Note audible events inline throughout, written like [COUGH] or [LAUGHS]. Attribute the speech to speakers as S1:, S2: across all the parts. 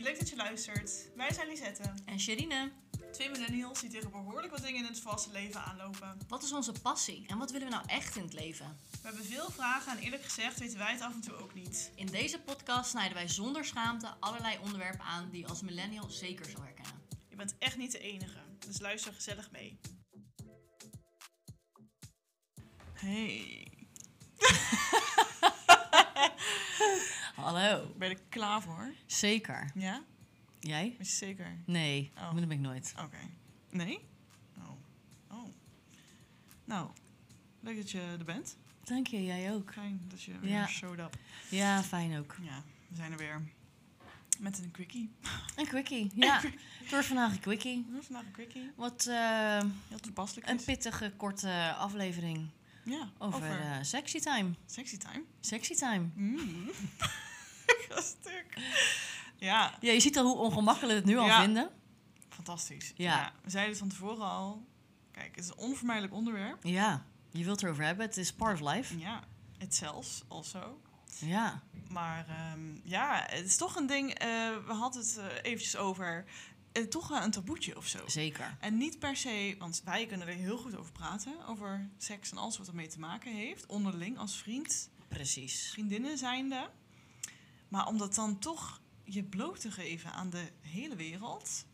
S1: Leuk dat je luistert. Wij zijn Lisette.
S2: En Sherine,
S1: Twee millennials die tegen behoorlijk wat dingen in het vaste leven aanlopen.
S2: wat is onze passie en wat willen we nou echt in het leven?
S1: We hebben veel vragen en eerlijk gezegd weten wij het af en toe ook niet.
S2: In deze podcast snijden wij zonder schaamte allerlei onderwerpen aan die je als millennial zeker zal herkennen.
S1: Je bent echt niet de enige, dus luister gezellig mee. Hey,
S2: Hallo.
S1: ben je er klaar voor?
S2: Zeker.
S1: Ja?
S2: Jij?
S1: Is je zeker?
S2: Nee,
S1: Oh.
S2: dat ben ik nooit.
S1: Oké. Nee? Oh. Oh. Nou, leuk dat je er bent.
S2: Dank je, jij ook.
S1: Fijn dat je
S2: Ja.
S1: weer showed up.
S2: Ja, fijn ook.
S1: Ja, we zijn er weer. Met een quickie.
S2: Een quickie. Ja, [LAUGHS] het wordt vandaag een quickie.
S1: We hebben vandaag een quickie.
S2: Wat eh,
S1: Heel toepasselijk
S2: een
S1: is.
S2: pittige, korte aflevering
S1: ja,
S2: over, eh, sexy time.
S1: sexy time.
S2: Sexy time.
S1: Mm. [LAUGHS] stuk. Ja,
S2: Ja, je ziet al hoe ongemakkelijk we het nu al
S1: Ja.
S2: vinden.
S1: fantastisch.
S2: Ja.
S1: We zeiden het van tevoren al. Kijk, het is een onvermijdelijk onderwerp.
S2: Ja, je wilt het erover hebben. Het is part of life.
S1: Ja, het zelfs, also.
S2: Ja.
S1: Maar ehm, ja, het is toch een ding. eh, we hadden het eh, eventjes over. eh, toch wel een taboetje of zo.
S2: Zeker.
S1: En niet per se, want wij kunnen er heel goed over praten. Over seks en alles wat ermee te maken heeft. Onderling als vriend,
S2: Precies.
S1: vriendinnen zijnde. Maar om dat dan toch je bloot te geven aan de hele wereld.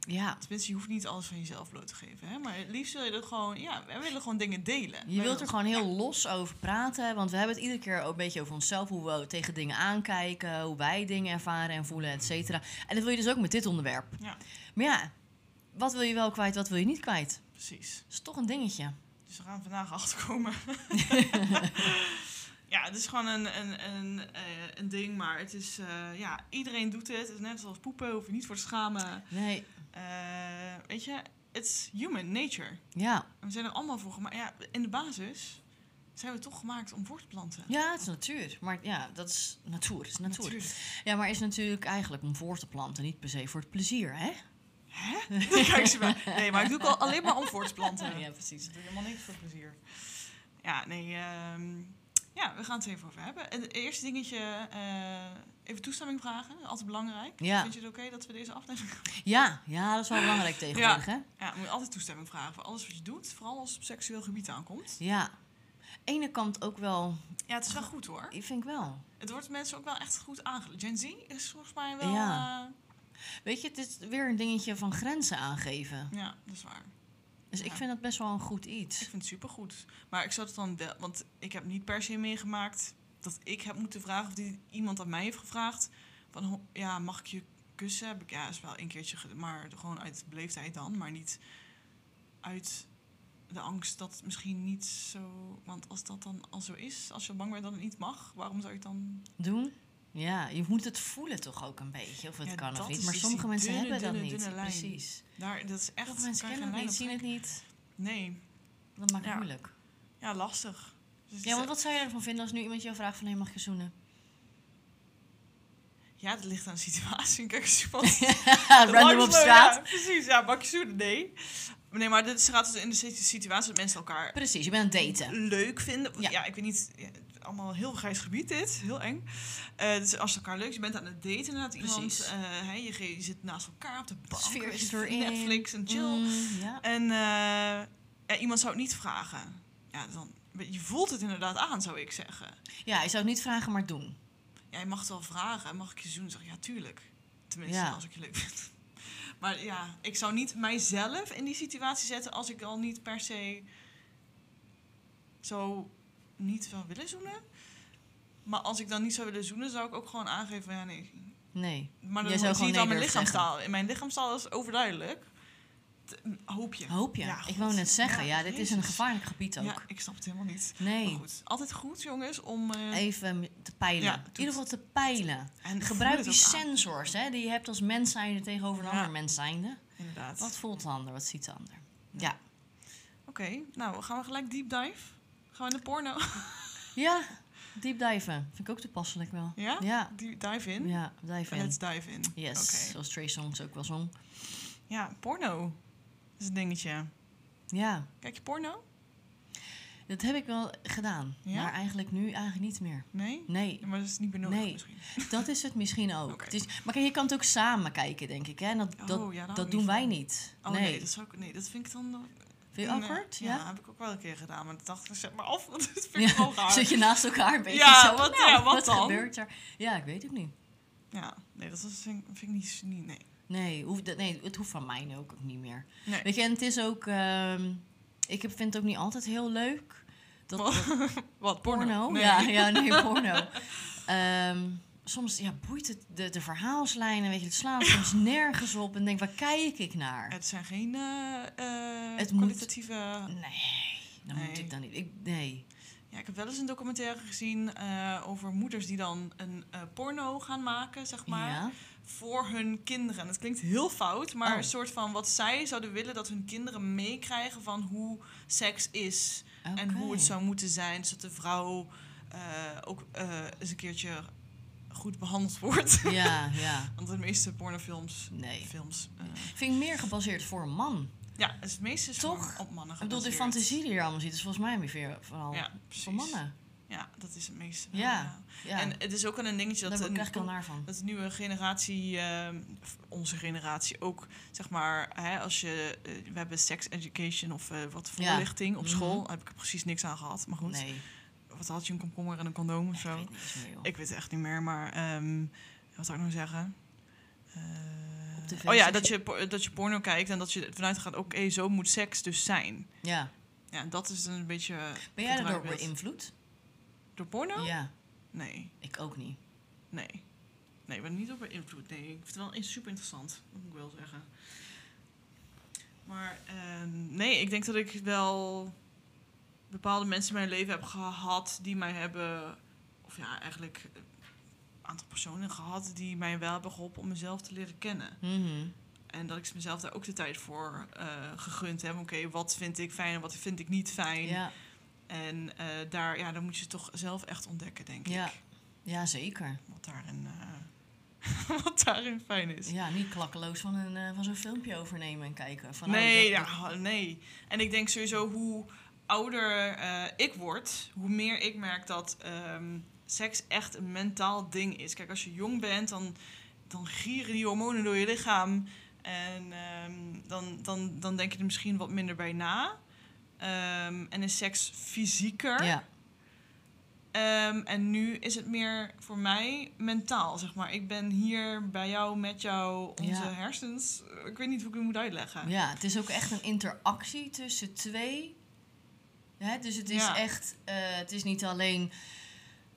S2: Ja.
S1: Tenminste, je hoeft niet alles van jezelf bloot te geven. Hè? Maar het liefst wil je dat gewoon... Ja, wij willen gewoon dingen delen.
S2: Je
S1: Wij
S2: wilt er
S1: willen-
S2: gewoon heel los over praten, want we hebben het iedere keer ook een beetje over onszelf, hoe we tegen dingen aankijken, hoe wij dingen ervaren en voelen, et cetera. En dat wil je dus ook met dit onderwerp.
S1: Ja.
S2: Maar ja, wat wil je wel kwijt, wat wil je niet kwijt?
S1: Precies.
S2: Dat is toch een dingetje.
S1: Dus we gaan vandaag
S2: [LAUGHS]
S1: achterkomen. ja, het is gewoon een, een, een, eh, een ding. Maar het is... eh, ja, iedereen doet het. Het is net zoals poepen. Hoef je niet voor te schamen.
S2: Nee,
S1: Eh, weet je, it's human nature.
S2: ja.
S1: En we zijn er allemaal voor gemaakt. Ja, in de basis zijn we toch gemaakt om voor te planten.
S2: Ja, het is natuur. Maar ja, dat is natuur. Het is natuur.
S1: Natuurlijk.
S2: Ja, maar het is natuurlijk eigenlijk om voor te planten, niet per se voor het plezier, hè?
S1: Hè? [LAUGHS] Dan kijk ze maar. Nee, maar ik doe het al, alleen maar om voor te planten.
S2: Ja, precies.
S1: Ik doe helemaal niks voor plezier. Ja, nee. ehm, ja, we gaan het er even over hebben. Het eerste dingetje, eh, even toestemming vragen. Altijd belangrijk.
S2: Ja.
S1: Vind je het oké dat we deze aflevering...
S2: Ja, ja, dat is wel belangrijk tegenwoordig, hè?
S1: Ja, moet je altijd toestemming vragen voor alles wat je doet. Vooral als het op seksueel gebied aankomt.
S2: Ja. Ene kant ook wel,
S1: Ja, het is wel goed hoor.
S2: ik vind ik wel.
S1: Het wordt mensen ook wel echt goed aangeleerd. Gen Z is volgens mij wel...
S2: Ja.
S1: eh,
S2: Weet je, het is weer een dingetje van grenzen aangeven.
S1: eh, ja, dat is waar.
S2: Dus
S1: Ja.
S2: ik vind dat best wel een goed
S1: Ik
S2: iets.
S1: vind het supergoed. Maar ik zou het dan wel... Want ik heb niet per se meegemaakt dat ik heb moeten vragen... of die, iemand aan mij heeft gevraagd... van ho- ja, mag ik je kussen? Heb ik, ja, is wel een keertje... ged- maar gewoon uit beleefdheid dan. Maar niet uit de angst dat het misschien niet zo... Want als dat dan al zo is, als je bang bent dat het niet mag... waarom zou je het dan...
S2: Doen? Ja, je moet het voelen toch ook een beetje, of het
S1: Ja,
S2: kan
S1: dat
S2: of niet.
S1: is
S2: Maar
S1: dus
S2: sommige
S1: die
S2: mensen
S1: dunne,
S2: hebben dat
S1: dunne,
S2: niet.
S1: dunne lijn.
S2: Precies.
S1: Daar, dat is echt...
S2: Sommige mensen
S1: kan je
S2: kennen
S1: geen
S2: het
S1: lijn
S2: niet, zien het niet.
S1: op- Nee.
S2: Dat maakt het
S1: Ja.
S2: moeilijk.
S1: Ja, lastig. Dus
S2: Ja,
S1: het-
S2: want wat zou je ervan vinden als nu iemand jou vraagt van... hé, mag je
S1: [LAUGHS]
S2: zoenen? [LAUGHS]
S1: ja, dat ligt aan de [LAUGHS] situatie. Kijk eens, wat
S2: Random
S1: Langs
S2: op
S1: lopen,
S2: straat.
S1: ja, precies, ja, bak je zoenen, nee. Nee, maar dit gaat dus in de situ- situatie dat mensen elkaar
S2: Precies, je bent aan het daten.
S1: leuk vinden. Ja.
S2: Ja.
S1: ik weet niet, ja, het is allemaal heel grijs gebied dit, heel eng. Eh, dus als je elkaar leuk, je bent aan het daten inderdaad. Iemand,
S2: Precies.
S1: eh, hè, je, ge- je zit naast elkaar op de bank,
S2: Sfeertje
S1: weet je,
S2: erin.
S1: Netflix en chill.
S2: Mm, ja.
S1: En eh, ja, iemand zou het niet vragen. Ja, dan, je voelt het inderdaad aan, zou ik zeggen.
S2: ja, je zou het niet vragen, maar doen.
S1: Ja, je mag het wel vragen. Mag ik je zoenen? Zeg ik, ja, tuurlijk. Tenminste,
S2: Ja.
S1: als ik je leuk vind. [LAUGHS] Maar ja, ik zou niet mijzelf in die situatie zetten als ik al niet per se zo niet zou willen zoenen. Maar als ik dan niet zou willen zoenen, zou ik ook gewoon aangeven van ja, nee.
S2: Nee.
S1: Maar
S2: Jij
S1: dan
S2: zou
S1: zie je het aan mijn
S2: gewoon nee durven
S1: lichaamstaal. In mijn lichaamstaal is overduidelijk. T- hoop je.
S2: Hoop je.
S1: Ja,
S2: ik
S1: goed.
S2: wou net zeggen,
S1: Ja,
S2: ja, dit is een
S1: Jezus.
S2: gevaarlijk gebied ook.
S1: Ja, ik snap het helemaal niet. Maar
S2: Nee.
S1: goed, altijd goed jongens om... eh,
S2: Even te peilen.
S1: Ja,
S2: In ieder geval te peilen.
S1: en voel
S2: Gebruik
S1: het
S2: die
S1: ook aan.
S2: sensors hè, die je hebt als mens zijnde tegenover een
S1: Ja.
S2: ander mens zijnde.
S1: Inderdaad.
S2: Wat voelt de ander? Wat ziet de ander? Ja.
S1: Oké, nou gaan we gelijk deep dive. Gaan we in de porno? [LAUGHS]
S2: Ja, deep diven. Vind ik ook toepasselijk wel.
S1: Ja?
S2: Ja,
S1: Deep dive in?
S2: ja dive in.
S1: Let's dive in.
S2: Yes,
S1: Oké.
S2: zoals Trey Songs ook wel zong.
S1: Ja, porno is een dingetje.
S2: Ja,
S1: Kijk je porno?
S2: Dat heb ik wel gedaan,
S1: Ja?
S2: maar eigenlijk nu eigenlijk niet meer.
S1: Nee?
S2: Nee,
S1: Maar dat is niet meer nodig
S2: Nee.
S1: misschien.
S2: dat is het misschien ook.
S1: Oké.
S2: Het is, maar kijk, je kan het ook samen kijken, denk ik. Hè? En dat, dat,
S1: Oh, ja, daar hou
S2: dat
S1: ik
S2: doen
S1: niet
S2: wij
S1: van.
S2: niet.
S1: Oh nee,
S2: nee.
S1: dat, zou ik, nee, dat vind ik dan... eh,
S2: Vind je
S1: nee.
S2: awkward?
S1: Ja,
S2: Ja.
S1: heb ik ook wel een keer gedaan. Maar dat dacht ik, zet maar af, want [LAUGHS] dat vind ik wel
S2: ja.
S1: raar.
S2: Zit je naast elkaar een beetje
S1: Ja,
S2: zo,
S1: wat-
S2: nou,
S1: ja, wat
S2: wat
S1: dan?
S2: gebeurt er? Ja, ik weet het niet.
S1: Ja, nee, dat is, vind, ik- vind ik niet... niet nee.
S2: Nee, hoeft, dat- nee, het hoeft van mij ook, ook niet meer.
S1: Nee.
S2: Weet je, en het is ook... ehm, ik heb- vind het ook niet altijd heel leuk. Dat, dat
S1: Wat, porno?
S2: porno?
S1: Nee.
S2: Ja, ja, nee, porno. Ehm, soms ja, boeit het de, de verhaalslijnen, weet je, het
S1: [LAUGHS]
S2: slaat soms nergens op. En denk, waar kijk ik naar?
S1: Het zijn geen eh, eh,
S2: Het moet-
S1: kwalitatieve...
S2: Nee, dat moet
S1: Nee.
S2: ik dan niet. Ik, nee.
S1: Ja, ik heb wel eens een documentaire gezien eh, over moeders die dan een eh, porno gaan maken, zeg maar,
S2: ja.
S1: voor hun kinderen. En dat klinkt heel fout, maar
S2: Oh.
S1: een soort van wat zij zouden willen dat hun kinderen meekrijgen van hoe seks is en hoe het
S2: Oké.
S1: zou moeten zijn, zodat de vrouw eh, ook eh, eens een keertje goed behandeld wordt. [LAUGHS]
S2: Ja, ja.
S1: Want de meeste pornofilms... [LAUGHS]
S2: Nee.
S1: Films. eh,
S2: Vind ik meer gebaseerd voor een man.
S1: ja, dus het meeste is
S2: Toch?
S1: gewoon op mannen
S2: Ik bedoel, de
S1: gebaseerd.
S2: fantasie die je er allemaal ziet, is volgens mij meer voor- vooral
S1: Ja,
S2: voor
S1: precies.
S2: mannen.
S1: Ja, dat is het meeste. wel,
S2: Ja.
S1: ja.
S2: Ja,
S1: En het is ook wel een dingetje dat
S2: daar
S1: een-
S2: krijg ik wel naar van.
S1: dat de nieuwe generatie, ehm, of onze generatie ook, zeg maar, hè, als je, eh, we hebben sex education of eh, wat
S2: Ja.
S1: voorlichting op
S2: Mhm.
S1: school, daar heb ik er precies niks aan gehad. Maar goed,
S2: Nee,
S1: wat had je een komkommer en een condoom of
S2: ik
S1: zo?
S2: weet niks meer, joh.
S1: Ik weet het echt niet meer, maar ehm, wat zou ik nou zeggen? Eh,
S2: Op tv
S1: oh ja,
S2: seks-
S1: dat je, po- dat je porno kijkt en dat je vanuit gaat, oké, zo moet seks dus zijn.
S2: Ja.
S1: Ja, dat is dan een beetje...
S2: Ben jij daardoor
S1: gedraaid beeld.
S2: beïnvloed?
S1: Door porno?
S2: Ja,
S1: Nee,
S2: ik ook niet.
S1: nee. Nee, ik ben niet op beïnvloed. Nee, ik vind het wel in- super interessant, dat moet ik wel zeggen. Maar ehm, nee, ik denk dat ik wel bepaalde mensen in mijn leven heb gehad die mij hebben, of ja, eigenlijk een aantal personen gehad die mij wel hebben geholpen om mezelf te leren kennen.
S2: Mhm.
S1: En dat ik mezelf daar ook de tijd voor eh, gegund heb. Oké, wat vind ik fijn en wat vind ik niet fijn?
S2: Ja.
S1: En eh, daar, ja, dan moet je het toch zelf echt ontdekken, denk
S2: Ja.
S1: ik.
S2: ja, zeker.
S1: Wat daarin, eh, [LAUGHS] wat daarin fijn is.
S2: Ja, niet klakkeloos van, een, eh, van zo'n filmpje overnemen en kijken. Van, oh,
S1: nee,
S2: dat-
S1: ja, nee. En ik denk sowieso hoe ouder eh, ik word, hoe meer ik merk dat ehm, seks echt een mentaal ding is. Kijk, als je jong bent, dan, dan gieren die hormonen door je lichaam. En ehm, dan, dan, dan denk je er misschien wat minder bij na. Ehm, en is seks
S2: dat-
S1: fysieker.
S2: Ja,
S1: Ehm, en nu is het meer voor mij mentaal, zeg maar. Ik ben hier bij jou, met jou, onze
S2: Ja.
S1: hersens. Ik weet niet hoe ik het moet uitleggen.
S2: ja, het is ook echt een interactie tussen twee. Hè, dus het is
S1: Ja.
S2: echt, eh, het is niet alleen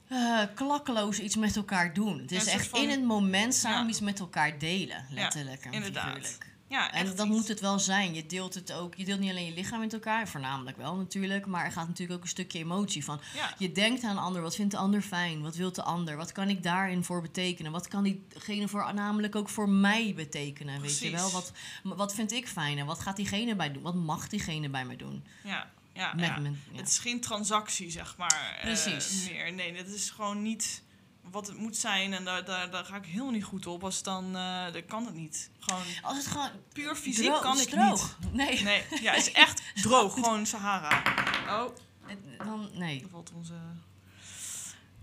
S2: eh, klakkeloos iets met elkaar doen. Het
S1: Ja,
S2: is
S1: een soort
S2: echt
S1: van-
S2: in het moment samen
S1: Ja.
S2: iets met elkaar delen, letterlijk en
S1: inderdaad.
S2: figuurlijk.
S1: Ja,
S2: En
S1: echt
S2: dat
S1: iets.
S2: moet het wel zijn. Je deelt het ook. Je deelt niet alleen je lichaam met elkaar, voornamelijk wel natuurlijk. Maar er gaat natuurlijk ook een stukje emotie van.
S1: Ja.
S2: Je denkt aan een ander. Wat vindt de ander fijn? Wat wil de ander? Wat kan ik daarin voor betekenen? Wat kan diegene voor, namelijk ook voor mij betekenen? Weet je
S1: Precies.
S2: wel? Wat, m- wat vind ik fijn? En wat gaat diegene bij doen? Wat mag diegene bij mij doen?
S1: ja, ja,
S2: Met
S1: ja.
S2: mijn- ja.
S1: Het is geen transactie, zeg maar. eh,
S2: Precies.
S1: meer. Nee, dat is gewoon niet wat het moet zijn. En daar, daar, daar ga ik helemaal niet goed op. Als het dan, eh dan kan het niet. Gewoon
S2: Als het gewoon
S1: puur fysiek
S2: droog-
S1: kan
S2: is
S1: ik
S2: droog. Nee.
S1: niet.
S2: [LAUGHS]
S1: Nee, ja, het is echt droog. Gewoon Sahara. Oh,
S2: Het- Dan, nee,
S1: daar valt onze...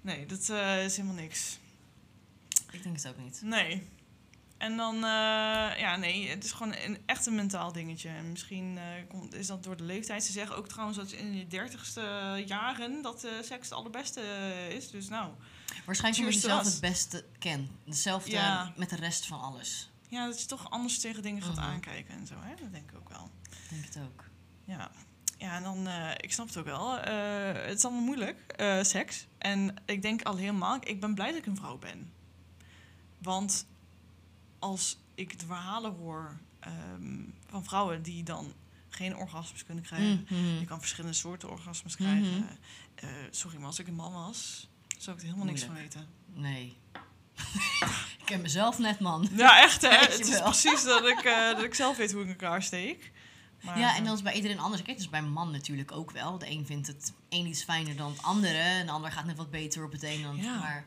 S1: Nee, dat eh, is helemaal niks.
S2: ik denk het ook niet.
S1: Nee. En dan, eh, ja, nee, het is gewoon een, echt een mentaal dingetje. En misschien eh, komt, is dat door de leeftijd. Ze zeggen ook trouwens dat in je dertigste jaren dat eh, seks het allerbeste eh, is. Dus nou,
S2: Waarschijnlijk omdat je
S1: Zoals
S2: zelf
S1: het
S2: het beste kent. Hetzelfde
S1: Ja.
S2: met de rest van alles.
S1: ja, dat je toch anders tegen dingen gaat
S2: Mhm.
S1: aankijken en zo, hè? Dat denk ik ook wel.
S2: Ik denk het ook.
S1: Ja, ja en dan, eh, ik snap het ook wel. Eh, het is allemaal moeilijk, eh, seks. En ik denk al helemaal, ik ben blij dat ik een vrouw ben. Want als ik de verhalen hoor ehm, van vrouwen die dan geen orgasmes kunnen krijgen.
S2: Mhm.
S1: Je kan verschillende soorten orgasmes krijgen.
S2: Mhm.
S1: Eh, sorry, maar als ik een man was, zou ik er helemaal niks van weten.
S2: Nee. [LAUGHS] ik ken mezelf net, man.
S1: Ja, echt hè.
S2: Weet je
S1: Het is
S2: wel.
S1: precies dat ik,
S2: [LAUGHS]
S1: eh, dat ik zelf weet hoe ik in elkaar steek. Maar,
S2: ja, en dan is bij iedereen anders. Kijk, dat is bij een man natuurlijk ook wel. De een vindt het een iets fijner dan het andere. En de ander gaat net wat beter op het een dan het
S1: Ja.
S2: maar,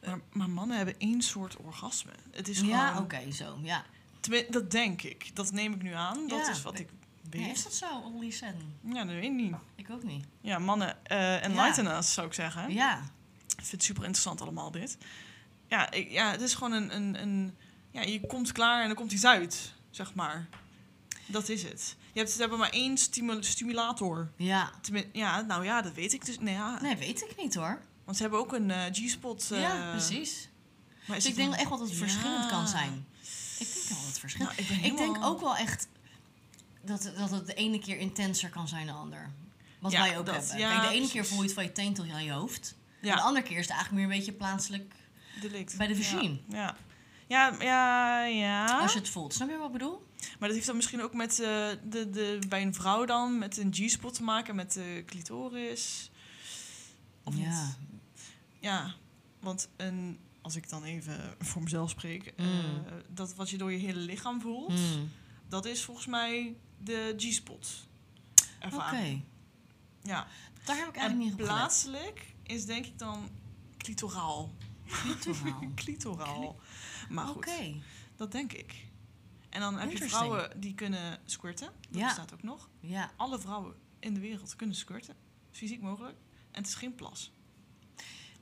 S1: eh, maar, maar mannen hebben één soort orgasme. Het is
S2: Ja,
S1: gewoon
S2: oké, zo. Ja.
S1: Tenmin- dat denk ik. Dat neem ik nu aan. Dat
S2: Ja.
S1: is wat ik
S2: Ja,
S1: alsjeblieft.
S2: is dat zo, Onlysen?
S1: Ja, dat weet ik niet.
S2: Ik ook niet.
S1: Ja, mannen, en enlighten us, zou ik zeggen.
S2: Ja.
S1: Ik vind het super interessant allemaal, dit. Ja, ik, ja het is gewoon een, een, een... Ja, je komt klaar en dan komt iets uit, zeg maar. Dat is het. Je hebt, ze hebben maar één stimu- stimulator.
S2: Ja.
S1: Tenmin- ja, nou ja, dat weet ik dus. Nee, ja.
S2: Nee, weet ik niet hoor.
S1: Want ze hebben ook een eh, G-spot. eh,
S2: ja, precies.
S1: Maar
S2: Dus
S1: is
S2: ik
S1: het
S2: denk
S1: dan-
S2: echt wel dat het verschillend
S1: Ja.
S2: kan zijn. Ik denk wel dat het verschillend
S1: Nou, ik, ben
S2: Ik denk
S1: helemaal-
S2: ook wel echt dat, dat het de ene keer intenser kan zijn dan de ander. Wat
S1: Ja,
S2: wij ook
S1: dat,
S2: hebben.
S1: ja,
S2: Kijk, de ene
S1: precies.
S2: keer voel je het van je teen tot aan je hoofd. En de
S1: Ja,
S2: andere keer is het eigenlijk meer een beetje plaatselijk
S1: delict.
S2: bij de vagina.
S1: Ja. Ja, ja, ja. ja.
S2: als je het voelt. Snap je wat ik bedoel?
S1: Maar dat heeft dan misschien ook met eh, de, de, bij een vrouw dan met een G-spot te maken, met de clitoris. Of
S2: ja.
S1: niet? Ja, want een, als ik dan even [LAUGHS] voor mezelf spreek, eh,
S2: Mm.
S1: dat wat je door je hele lichaam voelt,
S2: Hmm.
S1: dat is volgens mij de G-spot.
S2: Oké.
S1: Ervaring. Ja.
S2: Daar heb ik
S1: En
S2: eigenlijk niet op gelet.
S1: plaatselijk is denk ik dan clitoraal.
S2: Clitoraal.
S1: clitoraal. [LAUGHS] Maar
S2: Oh. Oké.
S1: goed, dat denk ik. En dan heb je
S2: Interesting.
S1: vrouwen die kunnen squirten. Dat
S2: Ja.
S1: bestaat ook nog.
S2: Ja.
S1: Alle vrouwen in de wereld kunnen squirten. Fysiek mogelijk. En het is geen plas.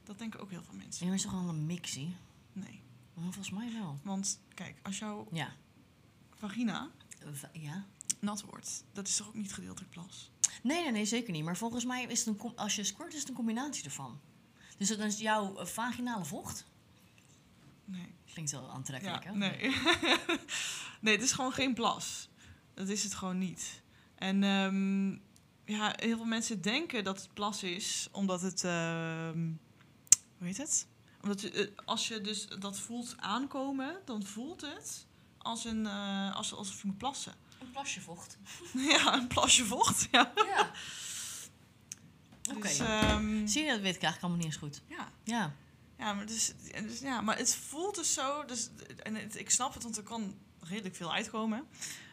S1: Dat denken ook heel veel
S2: En
S1: mensen.
S2: er is toch wel een mixie?
S1: Nee.
S2: Maar Volgens mij wel.
S1: Want kijk, als jouw
S2: Ja.
S1: vagina
S2: V- ja.
S1: nat wordt, dat is toch ook niet gedeeltelijk plas?
S2: Nee, nee, nee, zeker niet. Maar volgens mij is het een com- als je squirt is het een combinatie ervan. Dus dan is jouw eh, vaginale vocht.
S1: Nee.
S2: Klinkt wel aantrekkelijk,
S1: Ja,
S2: hè?
S1: nee. [LAUGHS] nee, het is gewoon geen plas. Dat is het gewoon niet. En ehm, ja, heel veel mensen denken dat het plas is, omdat het. ehm, hoe heet het? Omdat je, eh, als je dus dat voelt aankomen, dan voelt het als een, eh, als, alsof je moet plassen. [LAUGHS]
S2: Een plasje vocht.
S1: ja, een plasje vocht. Ja.
S2: Ja.
S1: [LAUGHS]
S2: Oké.
S1: Dus, ehm,
S2: Zie je, dat weet ik eigenlijk allemaal niet eens goed.
S1: ja.
S2: Ja.
S1: Ja, maar, dus, en dus, ja, maar het voelt dus zo. Dus, en het- ik snap het, want er kan redelijk veel uitkomen.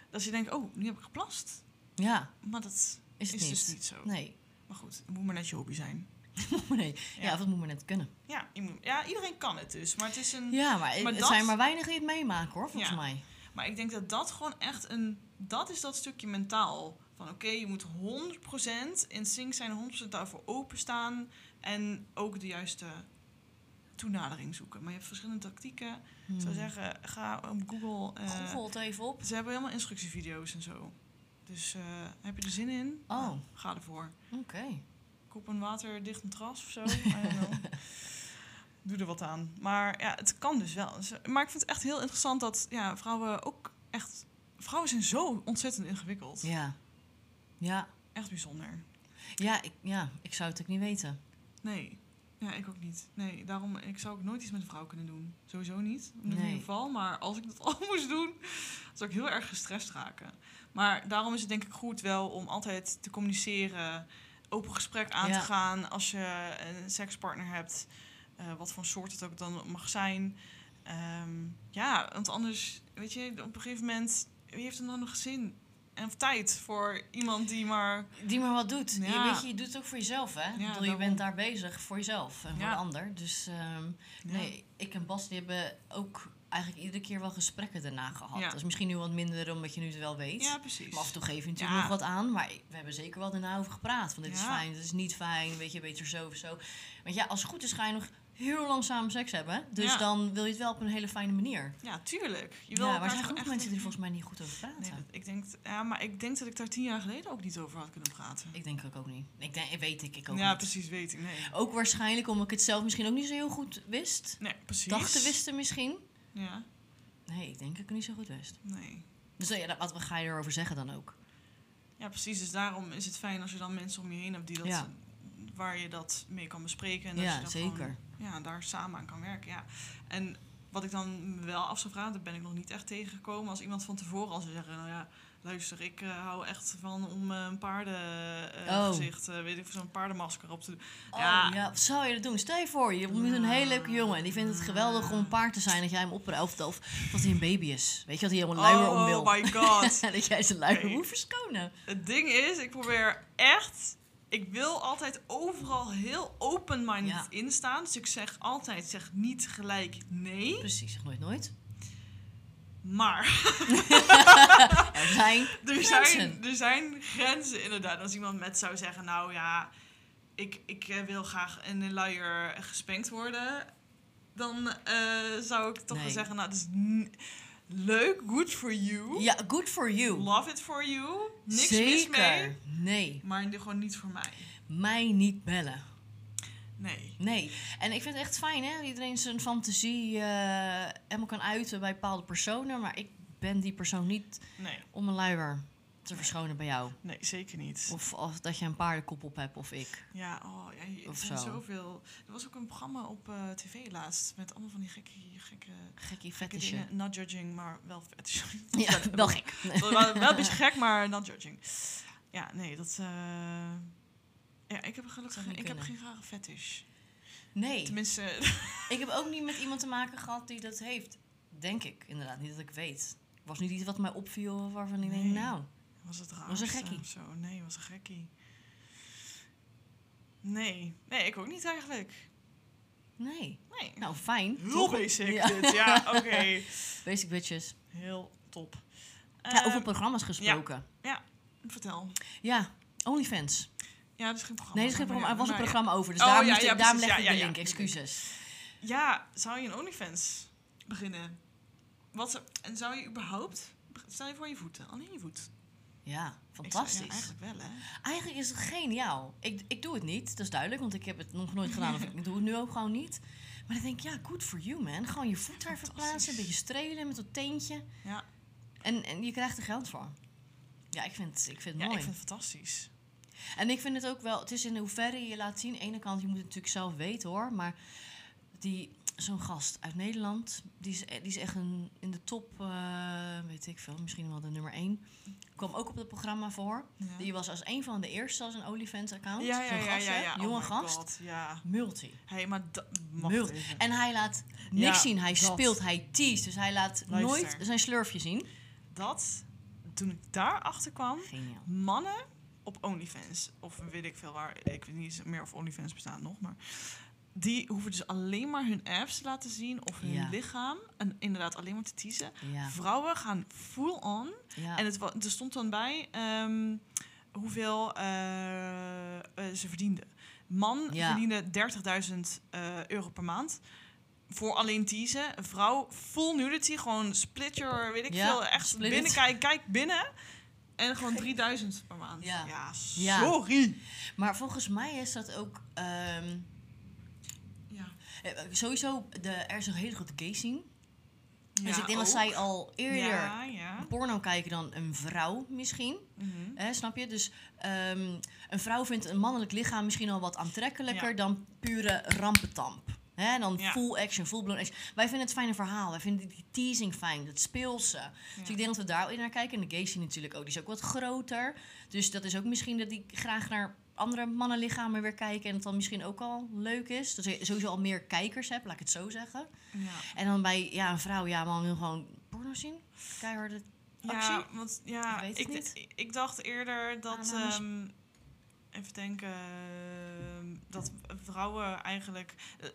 S1: Dat je denkt, oh, nu heb ik geplast.
S2: Ja,
S1: Maar dat
S2: is
S1: is,
S2: het
S1: dus
S2: niet.
S1: niet zo.
S2: Nee. [LAUGHS]
S1: Maar goed, het moet maar net je hobby zijn.
S2: nee. Ja.
S1: Ja.
S2: of dat moet maar net kunnen.
S1: Ja, je moet- ja, iedereen kan het dus. Maar, het is een,
S2: Ja, maar,
S1: Maar
S2: het
S1: dat-
S2: zijn maar weinig die het meemaken, hoor, volgens
S1: Ja.
S2: mij.
S1: maar ik denk dat dat gewoon echt een... Dat is dat stukje mentaal. Van oké, je moet 100% in sync zijn, 100% daarvoor openstaan. En ook de juiste toenadering zoeken. Maar je hebt verschillende tactieken. Ik
S2: Hmm.
S1: zou zeggen, ga op Google... eh,
S2: Google het even op.
S1: Ze hebben helemaal instructievideo's en zo. Dus eh, heb je er zin in?
S2: Oh.
S1: Nou, ga ervoor.
S2: Oké.
S1: Koop een waterdicht matras
S2: [LAUGHS]
S1: of zo. I don't know. Doe er wat aan. Maar ja, het kan dus wel. Dus, eh, Maar ik vind het echt heel interessant dat ja, vrouwen ook echt... Vrouwen zijn zo ontzettend ingewikkeld.
S2: Ja. Ja.
S1: Echt bijzonder.
S2: Ja ik, ja, ik zou het ook niet weten.
S1: Nee. Ja, ik ook niet. Nee, daarom ik zou ook nooit iets met een vrouw kunnen doen. Sowieso niet, in ieder
S2: Nee.
S1: geval. Maar als ik dat [LAUGHS] al moest doen, zou ik heel erg gestrest raken. Maar daarom is het denk ik goed wel om altijd te communiceren, open gesprek aan
S2: Ja.
S1: te gaan als je een sekspartner hebt, eh, wat voor soort het ook dan mag zijn. Ehm, ja, want anders, weet je, op een gegeven moment, wie heeft er dan nog zin en tijd voor iemand die maar
S2: Die maar wat doet. Je,
S1: Ja.
S2: weet je, je doet het ook voor jezelf, hè? Ik bedoel, je
S1: daarom.
S2: bent daar bezig voor jezelf en voor
S1: Ja.
S2: de ander. Dus ehm,
S1: Ja.
S2: nee, ik en Bas die hebben ook eigenlijk iedere keer wel gesprekken daarna gehad.
S1: Ja.
S2: Dat is misschien nu wat minder, omdat je nu het wel weet.
S1: Ja, precies.
S2: Maar af en toe geef je natuurlijk
S1: Ja.
S2: nog wat aan. Maar we hebben zeker wel daarna over gepraat. Van dit is
S1: Ja.
S2: fijn, dit is niet fijn. Weet je, beter zo of zo. Want ja, als het goed is ga je nog heel lang samen seks hebben. Dus
S1: Ja.
S2: dan wil je het wel op een hele fijne manier.
S1: Ja, tuurlijk. Je wil
S2: Ja, maar
S1: elkaar
S2: er zijn
S1: toch
S2: genoeg
S1: echt-
S2: mensen die er volgens mij niet goed over praten.
S1: Nee, dat- ik denk, t- ja, maar ik denk dat ik daar tien jaar geleden ook niet over had kunnen praten.
S2: Ik denk ook, ook niet. Ik denk, weet ik, ik ook
S1: ja,
S2: niet. Oh,
S1: precies, weet ik. Nee,
S2: Ook waarschijnlijk omdat ik het zelf misschien ook niet zo heel goed wist.
S1: nee precies.
S2: Dachten wisten misschien.
S1: Ja,
S2: Nee, ik denk dat ik het niet zo goed wist.
S1: nee.
S2: Dus nou ja, wat ga je erover zeggen dan ook?
S1: Ja, precies. Dus daarom is het fijn als je dan mensen om je heen hebt die dat,
S2: Ja.
S1: waar je dat mee kan bespreken. En dat je
S2: ja,
S1: dan
S2: zeker.
S1: gewoon- ja, daar samen aan kan werken. Ja. En wat ik dan wel af zou vragen, daar ben ik nog niet echt tegengekomen. Als iemand van tevoren al zou zeggen, nou ja, luister, ik eh, hou echt van om eh, een
S2: Oh.
S1: paardengezicht, eh, weet ik, zo'n paardenmasker op te doen.
S2: Oh, ja.
S1: Ja.
S2: wat zou je dat doen? Stel je voor, je ontmoet een hele leuke jongen en die vindt het geweldig om een paard te zijn dat jij hem opruift of dat hij een baby is. Weet je, dat hij helemaal luier om wil.
S1: oh my god.
S2: [LAUGHS]
S1: [LAUGHS]
S2: dat jij zijn luier
S1: Oké.
S2: moet verschonen.
S1: Het ding is, ik probeer echt. Ik wil altijd overal heel open-minded
S2: Ja.
S1: in staan. Dus ik zeg altijd, zeg niet gelijk nee.
S2: Precies, zeg nooit nooit.
S1: Maar [LAUGHS]
S2: Er zijn
S1: er
S2: Grenzen.
S1: zijn, er zijn grenzen inderdaad. Als iemand met zou zeggen, nou ja, ik, ik eh, wil graag in een luier gespenkt worden. Dan eh, zou ik toch wel
S2: Nee.
S1: zeggen, nou dat is n- leuk, good for you.
S2: Ja, good for you.
S1: Love it for you. Niks mis
S2: Zeker.
S1: mee.
S2: Nee,
S1: Maar dit gewoon niet voor mij.
S2: mij niet bellen.
S1: Nee.
S2: Nee. En ik vind het echt fijn, hè? dat Iedereen zijn fantasie eh, helemaal kan uiten bij bepaalde personen. Maar ik ben die persoon niet
S1: Nee.
S2: om een luier te verschonen bij jou.
S1: Nee, zeker niet.
S2: Of, of dat je een paardenkop op hebt of ik.
S1: Ja, oh, ja je- er
S2: Of
S1: zijn
S2: zo.
S1: zoveel. Er was ook een programma op eh, tv laatst met allemaal van die gekke, gekke, gekke
S2: Gekkie fetisje.
S1: dingen. Not judging, maar wel fetish.
S2: [LAUGHS] Ja, wel gek.
S1: [LAUGHS] wel, wel wel een beetje
S2: [LAUGHS]
S1: gek, maar not judging. Ja, nee, dat... eh, ja, ik heb gelukkig
S2: Zou
S1: geen,
S2: niet
S1: ik heb
S2: kunnen.
S1: geen rare fetish.
S2: Nee.
S1: Tenminste, [LAUGHS]
S2: Ik heb ook niet met iemand te maken gehad die dat heeft. Denk ik, inderdaad. Niet dat ik weet. Was niet iets wat mij opviel waarvan ik
S1: Nee.
S2: denk, nou...
S1: was het raar.
S2: Was een gekkie.
S1: Of zo. Nee, was een gekkie. Nee. Nee, ik ook niet eigenlijk.
S2: Nee.
S1: Nee.
S2: Nou, fijn.
S1: Heel
S2: Toch?
S1: basic
S2: Ja.
S1: dit. Ja, oké.
S2: [LAUGHS] Basic bitches.
S1: Heel top.
S2: ja,
S1: Ehm,
S2: over programma's gesproken.
S1: vertel.
S2: Ja. OnlyFans.
S1: Ja, dat is geen programma.
S2: Nee, er is geen programma. Er was een
S1: Oh, Maar ja.
S2: programma over, dus
S1: Oh,
S2: daarom,
S1: ja,
S2: moest ik-
S1: ja,
S2: daarom
S1: precies.
S2: leg
S1: Ja,
S2: ik de
S1: ja,
S2: link.
S1: ja.
S2: Excuses.
S1: Ja, zou je een OnlyFans beginnen? Wat, zou- en zou je überhaupt... Stel je voor je voeten, alleen je voet.
S2: Ja,
S1: Ik zou- ja,
S2: fantastisch. eigenlijk.
S1: eigenlijk wel, hè?
S2: is het geniaal. Ik, ik doe het niet, dat is duidelijk, want ik heb het nog nooit gedaan. Of
S1: [LAUGHS]
S2: ik doe het nu ook gewoon niet. Maar dan denk ik, ja, good for you, man. Gewoon je voet daar verplaatsen, een beetje strelen met dat teentje.
S1: Ja.
S2: En, en je krijgt er geld voor. Ja, ik vind, ik vind het
S1: Ja,
S2: mooi.
S1: ik vind het fantastisch.
S2: En ik vind het ook wel, het is in hoeverre je laat zien. Aan de ene kant, je moet het natuurlijk zelf weten hoor. Maar die, zo'n gast uit Nederland, die is, die is echt een, in de top, eh, weet ik veel, misschien wel de nummer één. Kwam ook op het programma voor.
S1: Ja,
S2: Die was als een van de eerste als een OnlyFans-account.
S1: ja, ja,
S2: zo'n
S1: ja.
S2: gast,
S1: ja,
S2: hè?
S1: ja. Oh
S2: Jonge
S1: my
S2: gast.
S1: God, ja.
S2: Multi.
S1: Hé, hey, maar dat mag
S2: Mult.
S1: even.
S2: En hij laat niks
S1: Ja,
S2: zien. Hij
S1: dat.
S2: speelt, hij teest. Dus hij laat
S1: Luister.
S2: nooit zijn slurfje zien.
S1: Dat, toen ik daarachter kwam...
S2: Geniaal.
S1: Mannen op OnlyFans, of weet ik veel waar... Ik weet niet eens meer of OnlyFans bestaat nog, maar... Die hoeven dus alleen maar hun apps te laten zien of hun
S2: Ja.
S1: lichaam. En inderdaad alleen maar te teasen.
S2: Ja,
S1: Vrouwen gaan full on.
S2: ja.
S1: En het, wa- er stond dan bij ehm, hoeveel eh, eh, ze verdienden. Man
S2: Ja.
S1: verdiende 30.000 eh, euro per maand. Voor alleen teasen. Een vrouw full nudity. Gewoon split your, weet ik
S2: Ja,
S1: veel. Echt
S2: split
S1: binnen
S2: it.
S1: kijk, kijk binnen. En gewoon 3000 per maand.
S2: Ja.
S1: Ja,
S2: Ja.
S1: sorry.
S2: Maar volgens mij is dat ook... ehm,
S1: Ja.
S2: Eh, Sowieso, de, er is een hele grote gay scene. dus
S1: Ja,
S2: ik denk dat
S1: ook.
S2: zij al eerder
S1: Ja, ja.
S2: porno kijken dan een vrouw misschien.
S1: Mhm.
S2: Hè, snap je? Dus ehm, een vrouw vindt een mannelijk lichaam misschien al wat aantrekkelijker
S1: Ja.
S2: dan pure rampentamp. Hè, en dan
S1: Ja.
S2: full action, full blown action. Wij vinden het fijne verhaal. Wij vinden die teasing fijn, dat speelse. Dus ik denk dat we daar ook in naar kijken. En de gay scene natuurlijk ook. Die is ook wat groter. Dus dat is ook misschien dat die graag naar andere mannenlichamen weer kijken. En het dan misschien ook al leuk is. Dat je sowieso al meer kijkers hebt, laat ik het zo zeggen.
S1: Ja.
S2: En dan bij ja, een vrouw, ja, man wil gewoon porno zien. Keiharde.
S1: Ja,
S2: actie?
S1: want ja,
S2: Ik weet
S1: ik,
S2: het niet. Ah, nou,
S1: ik, ik dacht eerder dat.
S2: Aannames.
S1: ehm, even denken. ehm, dat vrouwen eigenlijk. eh,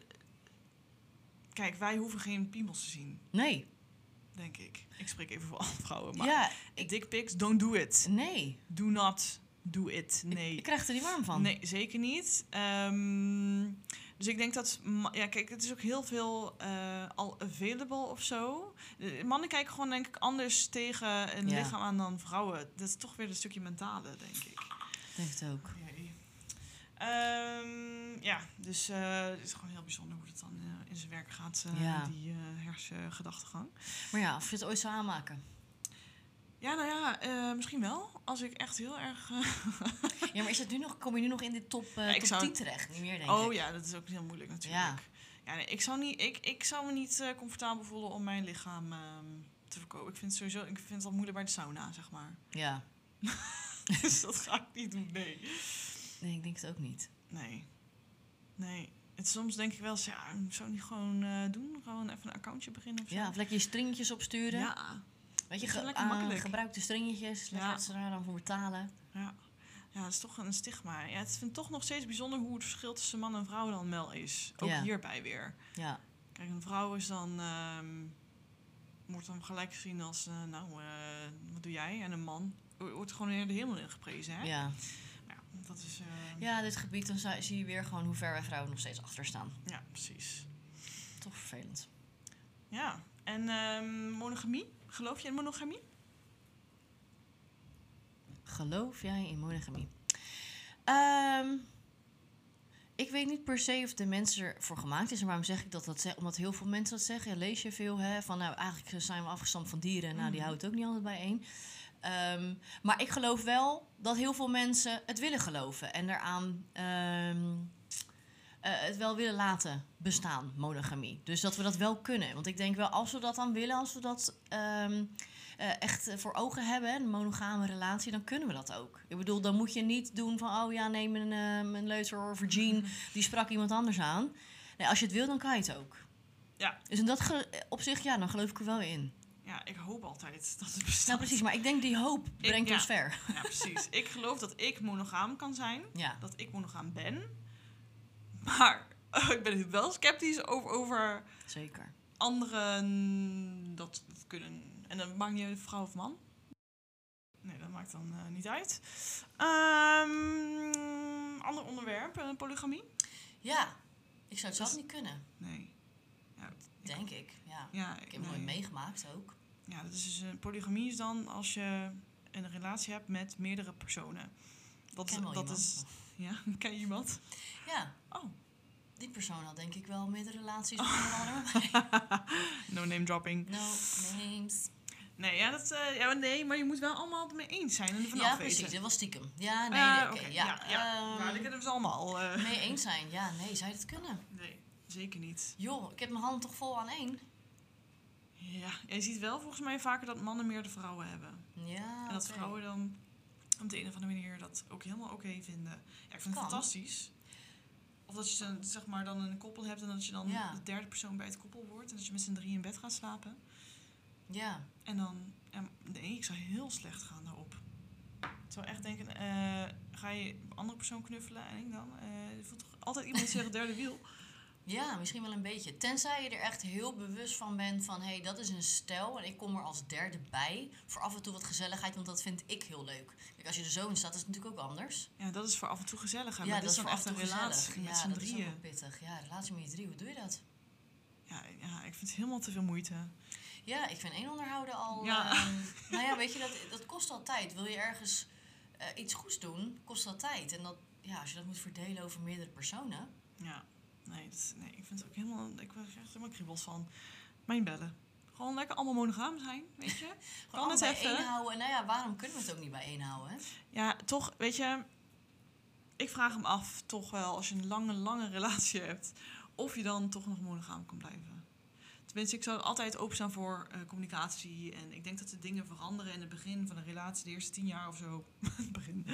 S1: kijk, wij hoeven geen piemels te zien,
S2: Nee.
S1: denk ik. Ik spreek even voor alle vrouwen. Oh, Maar
S2: ja,
S1: dick pics, don't do it.
S2: nee.
S1: Do not do it.
S2: Ik-
S1: Nee.
S2: Ik, krijg er niet warm van.
S1: Nee, zeker niet. Ehm, dus ik denk dat... ma- Ja, kijk, het is ook heel veel eh, al available of zo. Eh, Mannen kijken gewoon, denk ik, anders tegen een
S2: Ja.
S1: lichaam aan dan vrouwen. Dat is toch weer een stukje mentale, denk ik.
S2: Ik denk het ook.
S1: Ehm, ja, dus eh, het is gewoon heel bijzonder hoe het dan eh, in zijn werk gaat, eh,
S2: Ja.
S1: die eh hersengedachtegang.
S2: Maar ja, of je het ooit zou aanmaken.
S1: Ja, nou ja, eh, misschien wel. Als ik echt heel erg... eh,
S2: Ja, maar is dat nu nog, kom je nu nog in de top, eh,
S1: ik
S2: top
S1: zou-
S2: 10 terecht? Niet meer, denk
S1: oh
S2: ik.
S1: ja, dat is ook heel moeilijk natuurlijk. Ja. nee, ik, zou niet, ik, ik zou me niet eh, comfortabel voelen om mijn lichaam ehm, te verkopen. Ik vind het sowieso ik vind het al moeilijk bij de sauna, zeg maar. [LAUGHS]
S2: Ja.
S1: dus dat ga ik niet doen, nee.
S2: Nee, ik denk het ook niet.
S1: Nee. Nee. Het, soms denk ik wel eens, ja, zou ik niet gewoon eh, doen? Gewoon even een accountje beginnen of zo?
S2: Ja, of lekker je stringetjes opsturen.
S1: ja.
S2: Weet je,
S1: Dat is
S2: ge
S1: lekker
S2: aan-
S1: makkelijk.
S2: gebruik de stringetjes. Lekker
S1: Ja.
S2: dat ze daar dan voor betalen.
S1: Ja, dat is toch een stigma. Ja, het vind ik toch nog steeds bijzonder hoe het verschil tussen man en vrouw dan wel is. Ook
S2: Ja.
S1: hierbij weer.
S2: Ja.
S1: Kijk, een vrouw is dan ehm, wordt dan gelijk gezien als, eh, nou, eh, wat doe jij? En een man wordt gewoon weer de hemel ingeprezen, hè? Ja.
S2: Ja.
S1: dat is... eh, ja.
S2: ja, dit gebied, dan zou- zie je weer gewoon hoe ver wij vrouwen nog steeds achter staan.
S1: precies.
S2: Toch vervelend.
S1: Ja, en ehm, monogamie? Geloof je in monogamie?
S2: Geloof jij in monogamie? Ehm, ik weet niet per se of de mensen ervoor gemaakt is. En waarom zeg ik dat? dat ze- omdat heel veel mensen dat zeggen. Ja, lees je veel hè, van nou, eigenlijk zijn we afgestamd van dieren. Nou, die
S1: Mhm.
S2: houdt het ook niet altijd bijeen. Ehm maar ik geloof wel dat heel veel mensen het willen geloven. En daaraan ehm, eh, het wel willen laten bestaan, monogamie. Dus dat we dat wel kunnen. Want ik denk wel, als we dat dan willen, als we dat ehm, eh, echt eh, voor ogen hebben, hè, een monogame relatie, dan kunnen we dat ook. Ik bedoel, dan moet je niet doen van, oh ja, neem een, eh, mijn leuter of Virgin, die sprak iemand anders aan. Nee, als je het wil, dan kan je het ook.
S1: Ja.
S2: Dus in dat ge- op zich, ja, dan geloof ik er wel in.
S1: Ja, ik hoop altijd dat het bestaat.
S2: Nou, precies, maar ik denk die hoop brengt
S1: ja.
S2: ons ver.
S1: Ja, precies. ik geloof dat ik monogaam kan zijn.
S2: Ja.
S1: dat ik monogaam ben. Maar [LAUGHS] ik ben wel sceptisch over, over
S2: Zeker.
S1: anderen dat kunnen. En dat maakt niet uit vrouw of man. Nee, dat maakt dan eh, niet uit. Ehm, ander onderwerp, eh, polygamie?
S2: Ja, ik zou het zelf niet kunnen,
S1: Nee. Ja,
S2: denk ik. Ja.
S1: ja,
S2: Ik heb het nooit
S1: nee.
S2: meegemaakt ook.
S1: Ja, dat is dus, eh, polygamie is dan als je een relatie hebt met meerdere personen. Dat,
S2: Ik ken wel
S1: dat
S2: iemand.
S1: is. Ja, [LAUGHS] ken je iemand?
S2: Ja,
S1: Oh,
S2: die persoon had denk ik wel meerdere
S1: [LAUGHS]
S2: relaties met een ander.
S1: no name dropping.
S2: No names.
S1: Nee, ja, dat, eh, ja, maar nee, maar je moet wel allemaal het mee eens zijn en ervan
S2: ja,
S1: afweten.
S2: precies. Dat was stiekem. Ja, nee,
S1: Ah,
S2: nee, oké.
S1: oké,
S2: ja,
S1: ja, ja. Nou,
S2: ehm,
S1: maar dat kunnen ze allemaal. eh.
S2: mee eens zijn. Ja, nee, zou je dat kunnen?
S1: Nee, zeker niet.
S2: Joh, ik heb mijn handen toch vol aan één.
S1: Ja, je ziet wel volgens mij vaker dat mannen meer de vrouwen hebben.
S2: Ja,
S1: en dat
S2: Ah, oké.
S1: vrouwen dan op de een of andere manier dat ook helemaal oké vinden. Ja, ik vind
S2: Kan.
S1: het fantastisch. Of dat je dan, zeg maar, dan een koppel hebt en dat je dan
S2: Ja.
S1: de derde persoon bij het koppel wordt. En dat je met z'n drie in bed gaat slapen.
S2: Ja,
S1: En dan, en- nee, ik zou heel slecht gaan daarop. Ik zou echt denken, eh, ga je een andere persoon knuffelen? En ik dan, eh, er voelt toch altijd
S2: [LAUGHS]
S1: iemand zich het derde wiel?
S2: ja, misschien wel een beetje. Tenzij je er echt heel bewust van bent van... hé, hey, dat is een stijl en ik kom er als derde bij... voor af en toe wat gezelligheid, want dat vind ik heel leuk. Kijk, als je er zo in staat, is het natuurlijk ook anders.
S1: Ja, dat is voor af en toe gezellig. hè, maar dit is dan
S2: voor
S1: echt
S2: af en
S1: een
S2: toe gezellig.
S1: relatie met
S2: ja,
S1: z'n
S2: dat is ook
S1: drieën.
S2: wel pittig. Ja, relatie met je drie, hoe doe je dat?
S1: Ja, ja, ik vind het helemaal te veel moeite.
S2: Ja, ik vind één onderhouden al.
S1: Ja.
S2: ehm, nou ja, weet je, dat, dat kost al tijd. Wil je ergens eh, iets goeds doen, kost dat tijd. En dat, ja, als je dat moet verdelen over meerdere personen.
S1: Ja, nee, dat, is- nee ik vind het ook helemaal, ik word er echt helemaal kriebels van. Mijn bellen. Gewoon lekker allemaal monogaam zijn, weet je? Kan
S2: Gewoon
S1: het
S2: bij
S1: even?
S2: één houden. En nou ja, waarom kunnen we het ook niet bij één houden?
S1: Ja, toch, weet je, ik vraag hem af, toch wel, als je een lange, lange relatie hebt, of je dan toch nog monogaam kan blijven. Tenminste, ik zou altijd openstaan voor eh, communicatie. En ik denk dat de dingen veranderen in het begin van een relatie, de eerste tien jaar of zo. [LAUGHS] het begin.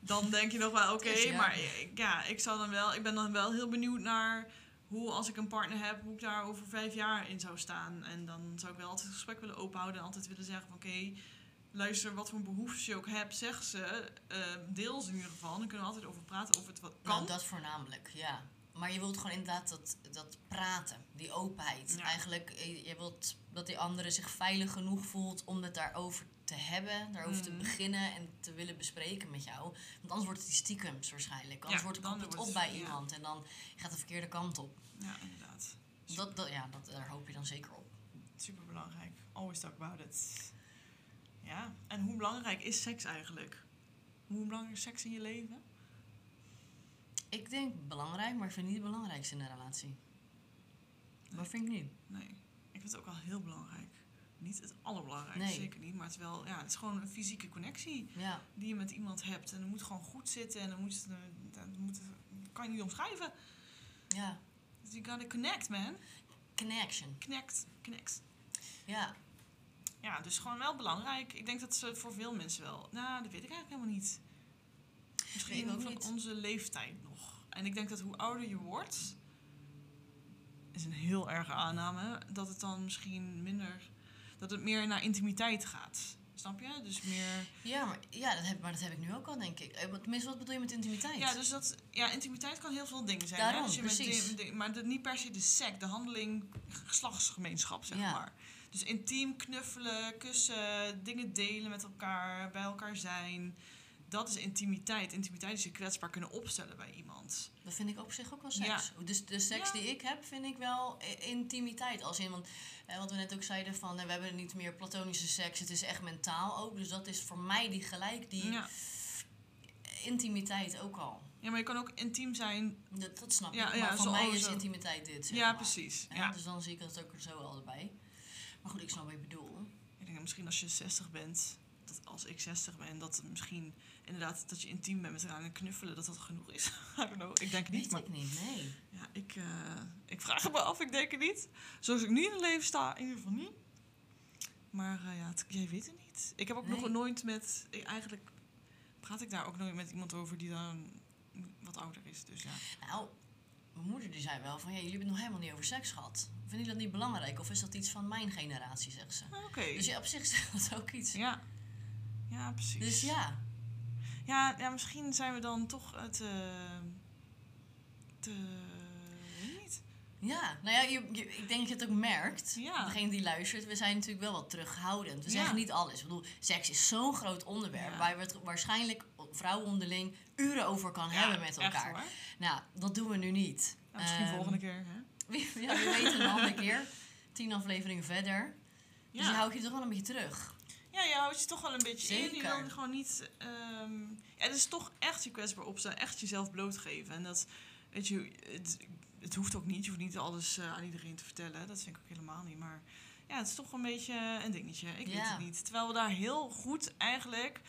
S1: Dan denk je nog wel, oké,
S2: Eerste jaar.
S1: maar ik- ja, ik, zou dan wel, ik ben dan wel heel benieuwd naar hoe, als ik een partner heb, hoe ik daar over vijf jaar in zou staan. En dan zou ik wel altijd het gesprek willen openhouden en altijd willen zeggen van, oké, luister, wat voor behoeftes je ook hebt, zeg ze. Ehm, deels in ieder geval. Dan kunnen we altijd over praten of het wat kan.
S2: Nou, dat voornamelijk, ja. Maar je wilt gewoon inderdaad dat, dat praten, die openheid.
S1: Ja.
S2: Eigenlijk, eh, je wilt dat die andere zich veilig genoeg voelt om het daarover te hebben, daarover te
S1: Mhm.
S2: beginnen en te willen bespreken met jou. Want anders wordt het die stiekems waarschijnlijk. Anders
S1: Ja,
S2: wordt het
S1: dan
S2: op het
S1: wordt
S2: op
S1: het-
S2: bij
S1: ja.
S2: iemand en dan gaat de verkeerde kant op.
S1: Ja, inderdaad.
S2: Dat, dat, ja, dat, daar hoop je dan zeker op.
S1: Super belangrijk. Always talk about it. Ja, en hoe belangrijk is seks eigenlijk? Hoe belangrijk is seks in je leven?
S2: Ik denk belangrijk, maar ik vind het niet het belangrijkste in een relatie. Maar
S1: Nee.
S2: vind ik niet.
S1: Nee, ik vind het ook wel heel belangrijk. Niet het allerbelangrijkste,
S2: Nee.
S1: zeker niet. Maar het, is wel, ja, het is gewoon een fysieke connectie
S2: Ja,
S1: die je met iemand hebt. En dat moet gewoon goed zitten. En dan moet het, eh, dat moet, dat kan je niet omschrijven.
S2: ja.
S1: Dus you gotta connect, man.
S2: Connection.
S1: Connect, connect.
S2: Ja,
S1: Ja, dus gewoon wel belangrijk. Ik denk dat ze voor veel mensen wel. Nou, dat weet ik eigenlijk helemaal niet. Misschien
S2: Nee, ik ook
S1: van
S2: niet.
S1: onze leeftijd nog. En ik denk dat hoe ouder je wordt, is een heel erge aanname, dat het dan misschien minder. dat het meer naar intimiteit gaat. Snap je? Dus meer.
S2: Ja, maar, ja dat, heb, maar dat heb ik nu ook al, denk ik. Eh, wat- Tenminste, wat bedoel je met intimiteit?
S1: Ja, dus dat, ja, intimiteit kan heel veel dingen zijn.
S2: Daarom,
S1: hè? Dus je met
S2: precies.
S1: dingen- dingen- maar dat niet per se de sec, de handeling, geslachtsgemeenschap, zeg
S2: Ja.
S1: maar. Dus intiem knuffelen, kussen, dingen delen met elkaar, bij elkaar zijn. Dat is intimiteit. Intimiteit is je kwetsbaar kunnen opstellen bij iemand.
S2: Dat vind ik op zich ook wel seks. Dus de seks
S1: Ja.
S2: die ik heb, vind ik wel i- intimiteit. Als in, want eh, wat we net ook zeiden van, eh, we hebben niet meer platonische seks. Het is echt mentaal ook. Dus dat is voor mij die gelijk, die
S1: Ja.
S2: intimiteit ook al.
S1: ja, maar je kan ook intiem zijn.
S2: Dat, dat snap
S1: Ja,
S2: ik.
S1: ja,
S2: Maar van
S1: zo-
S2: mij
S1: oh,
S2: is
S1: zo.
S2: intimiteit dit, zeg
S1: Ja,
S2: maar.
S1: precies.
S2: Ja,
S1: Ja.
S2: Dus dan zie ik dat ook er zo al bij. Maar goed, ik snap wat je bedoelt.
S1: Ik denk dat misschien als je 60 bent, dat als ik 60 ben, dat het misschien inderdaad dat je intiem bent met elkaar en knuffelen, dat dat genoeg is. [LAUGHS] I don't know. Ik denk het niet,
S2: Weet
S1: maar
S2: ik niet, nee.
S1: ja, ik, eh, ik vraag het me af. Ik denk het niet. Zoals ik nu in het leven sta, in ieder geval niet. Maar eh, ja, het- jij weet het niet. Ik heb ook nog
S2: Nee.
S1: nooit met. Ik, eigenlijk praat ik daar ook nooit met iemand over die dan wat ouder is. Dus ja.
S2: Nou, mijn moeder die zei wel van, ja, jullie hebben het nog helemaal niet over seks gehad. Vinden jullie dat niet belangrijk? Of is dat iets van mijn generatie, zegt ze.
S1: Oké.
S2: Dus ja, op zich [LAUGHS] is dat ook iets.
S1: Ja. Ja, precies.
S2: Dus ja,
S1: Ja, ja, misschien zijn we dan toch eh, te. te. weet ik niet.
S2: ja. Nou ja, je, je- ik denk dat je het ook merkt.
S1: Ja.
S2: Degene die luistert, we zijn natuurlijk wel wat terughoudend. We zeggen
S1: Ja.
S2: niet alles. Ik bedoel, seks is zo'n groot onderwerp
S1: Ja.
S2: waar we het waarschijnlijk vrouwen onderling uren over kan
S1: Ja,
S2: hebben met
S1: echt
S2: elkaar.
S1: hoor.
S2: nou, dat doen we nu niet.
S1: Ja, misschien
S2: Ehm, [LAUGHS]
S1: volgende keer. Hè?
S2: Wie, ja, wie weet een andere keer. Tien afleveringen verder. Dus je
S1: Ja.
S2: houdt je toch wel een beetje terug.
S1: Ja, je houdt je toch wel een beetje in. Je
S2: Zeker.
S1: wil gewoon niet... ehm, ja, het is toch echt je kwetsbaar opstaan. Echt jezelf blootgeven. En dat, weet je, het, het hoeft ook niet. Je hoeft niet alles eh, aan iedereen te vertellen. Dat vind ik ook helemaal niet. Maar ja, het is toch een beetje een dingetje. Ik weet
S2: Ja.
S1: het niet. Terwijl we daar heel goed eigenlijk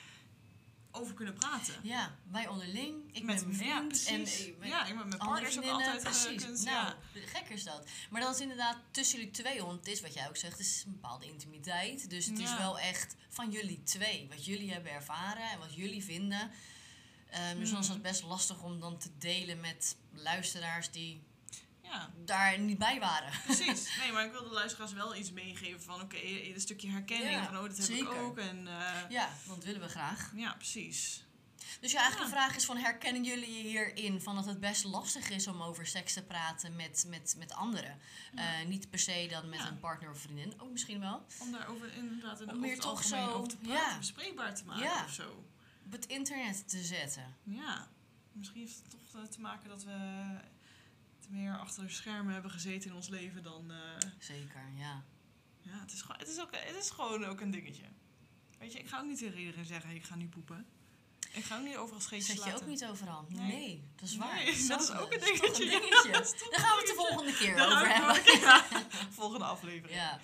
S1: over kunnen praten.
S2: Ja, wij onderling. Ik ben mijn
S1: ja,
S2: vriend. en
S1: precies.
S2: eh, mijn
S1: ja, ik ben met
S2: andere
S1: partners ook
S2: vriendinnen.
S1: altijd
S2: precies.
S1: gekund.
S2: nou,
S1: Ja.
S2: gek is dat. Maar dat is inderdaad tussen jullie twee. Want het is wat jij ook zegt. Het is een bepaalde intimiteit. Dus het is
S1: Ja.
S2: wel echt van jullie twee. Wat jullie hebben ervaren en wat jullie vinden. Ehm, dus dan is dat
S1: Mhm.
S2: best lastig om dan te delen met luisteraars die
S1: ja,
S2: daar niet bij waren.
S1: precies. Nee, maar ik wil de luisteraars wel iets meegeven van... Oké, een stukje herkenning.
S2: Ja,
S1: van, oh, dat heb ik
S2: zeker.
S1: ook. En... eh,
S2: Ja, dat willen we graag.
S1: Ja, precies.
S2: Dus ja, eigenlijk
S1: Ja.
S2: de vraag is van herkennen jullie je hierin van dat het best lastig is om over seks te praten met, met, met anderen.
S1: Ja.
S2: Eh, niet per se dan met
S1: Ja.
S2: een partner of vriendin, ook misschien wel.
S1: Om daarover inderdaad in
S2: Om
S1: over
S2: meer
S1: het
S2: toch
S1: algemeen
S2: zo-
S1: over te praten,
S2: ja.
S1: bespreekbaar te maken
S2: Ja.
S1: of zo.
S2: Op het internet te zetten.
S1: Ja, misschien heeft het toch eh, te maken dat we te meer achter de schermen hebben gezeten in ons leven dan... eh,
S2: Zeker, ja.
S1: ja, het is, gewoon, het, is ook, het is gewoon ook een dingetje. Weet je, ik ga ook niet tegen iedereen zeggen, ik ga nu poepen. Ik ga ook niet overal
S2: Dat
S1: scheetjes
S2: zet je
S1: laten.
S2: ook niet overal.
S1: Nee.
S2: Nee, dat is waar.
S1: Nee, [LAUGHS]
S2: Dat is,
S1: dat is
S2: ook
S1: ook een
S2: dat is toch
S1: dingetje, ja, [LAUGHS]
S2: dingetje.
S1: dat is toch
S2: Daar gaan we het de
S1: een
S2: volgende keer
S1: Daar
S2: over
S1: hou
S2: hebben.
S1: ik me ook- [LAUGHS] ja, volgende aflevering. Ja.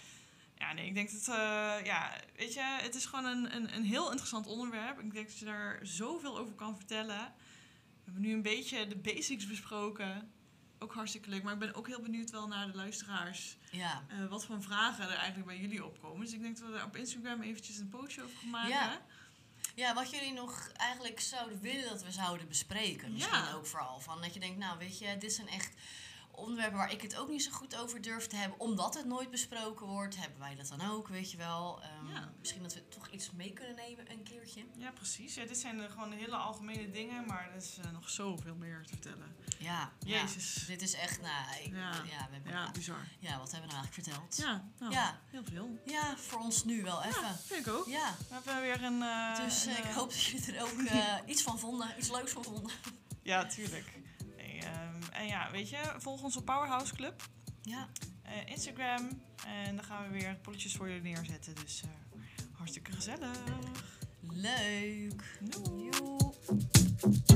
S2: Ja,
S1: nee, ik denk dat... eh, ja, weet je, het is gewoon een, een, een heel interessant onderwerp. Ik denk dat je daar zoveel over kan vertellen. We hebben nu een beetje de basics besproken. Ook hartstikke leuk. Maar ik ben ook heel benieuwd wel naar de luisteraars.
S2: ja.
S1: eh, wat voor vragen er eigenlijk bij jullie opkomen. Dus ik denk dat we daar op Instagram eventjes een postje over gaan maken.
S2: Ja. Ja, wat jullie nog eigenlijk zouden willen dat we zouden bespreken. Misschien
S1: Ja.
S2: ook vooral. Van dat je denkt, nou weet je, dit zijn echt onderwerpen waar ik het ook niet zo goed over durf te hebben. Omdat het nooit besproken wordt, hebben wij dat dan ook, weet je wel. Ehm,
S1: Ja.
S2: Misschien dat we toch iets mee kunnen nemen een keertje.
S1: Ja, precies. Ja, dit zijn eh, gewoon hele algemene dingen. Maar er is eh, nog zoveel meer te vertellen.
S2: Ja, ja.
S1: Jezus.
S2: Dit is echt, nou, ik-
S1: Ja.
S2: ja. we hebben,
S1: Ja,
S2: ja.
S1: bizar.
S2: wat hebben we nou eigenlijk verteld? Ja,
S1: Ja, nou,
S2: Ja.
S1: heel veel.
S2: voor ons nu wel
S1: Ja,
S2: even.
S1: vind ik ook.
S2: Ja,
S1: We hebben weer een... eh,
S2: dus
S1: een,
S2: eh, ik
S1: eh,
S2: hoop dat jullie er
S1: [LAUGHS]
S2: ook eh, iets van vonden, iets leuks van vonden.
S1: Ja, tuurlijk. Nee, ehm, en ja, weet je, volg ons op Powerhouse Club.
S2: Ja,
S1: eh, Instagram. En dan gaan we weer polletjes voor jullie neerzetten. Dus eh, hartstikke gezellig.
S2: leuk.
S1: Doei.
S2: Joe.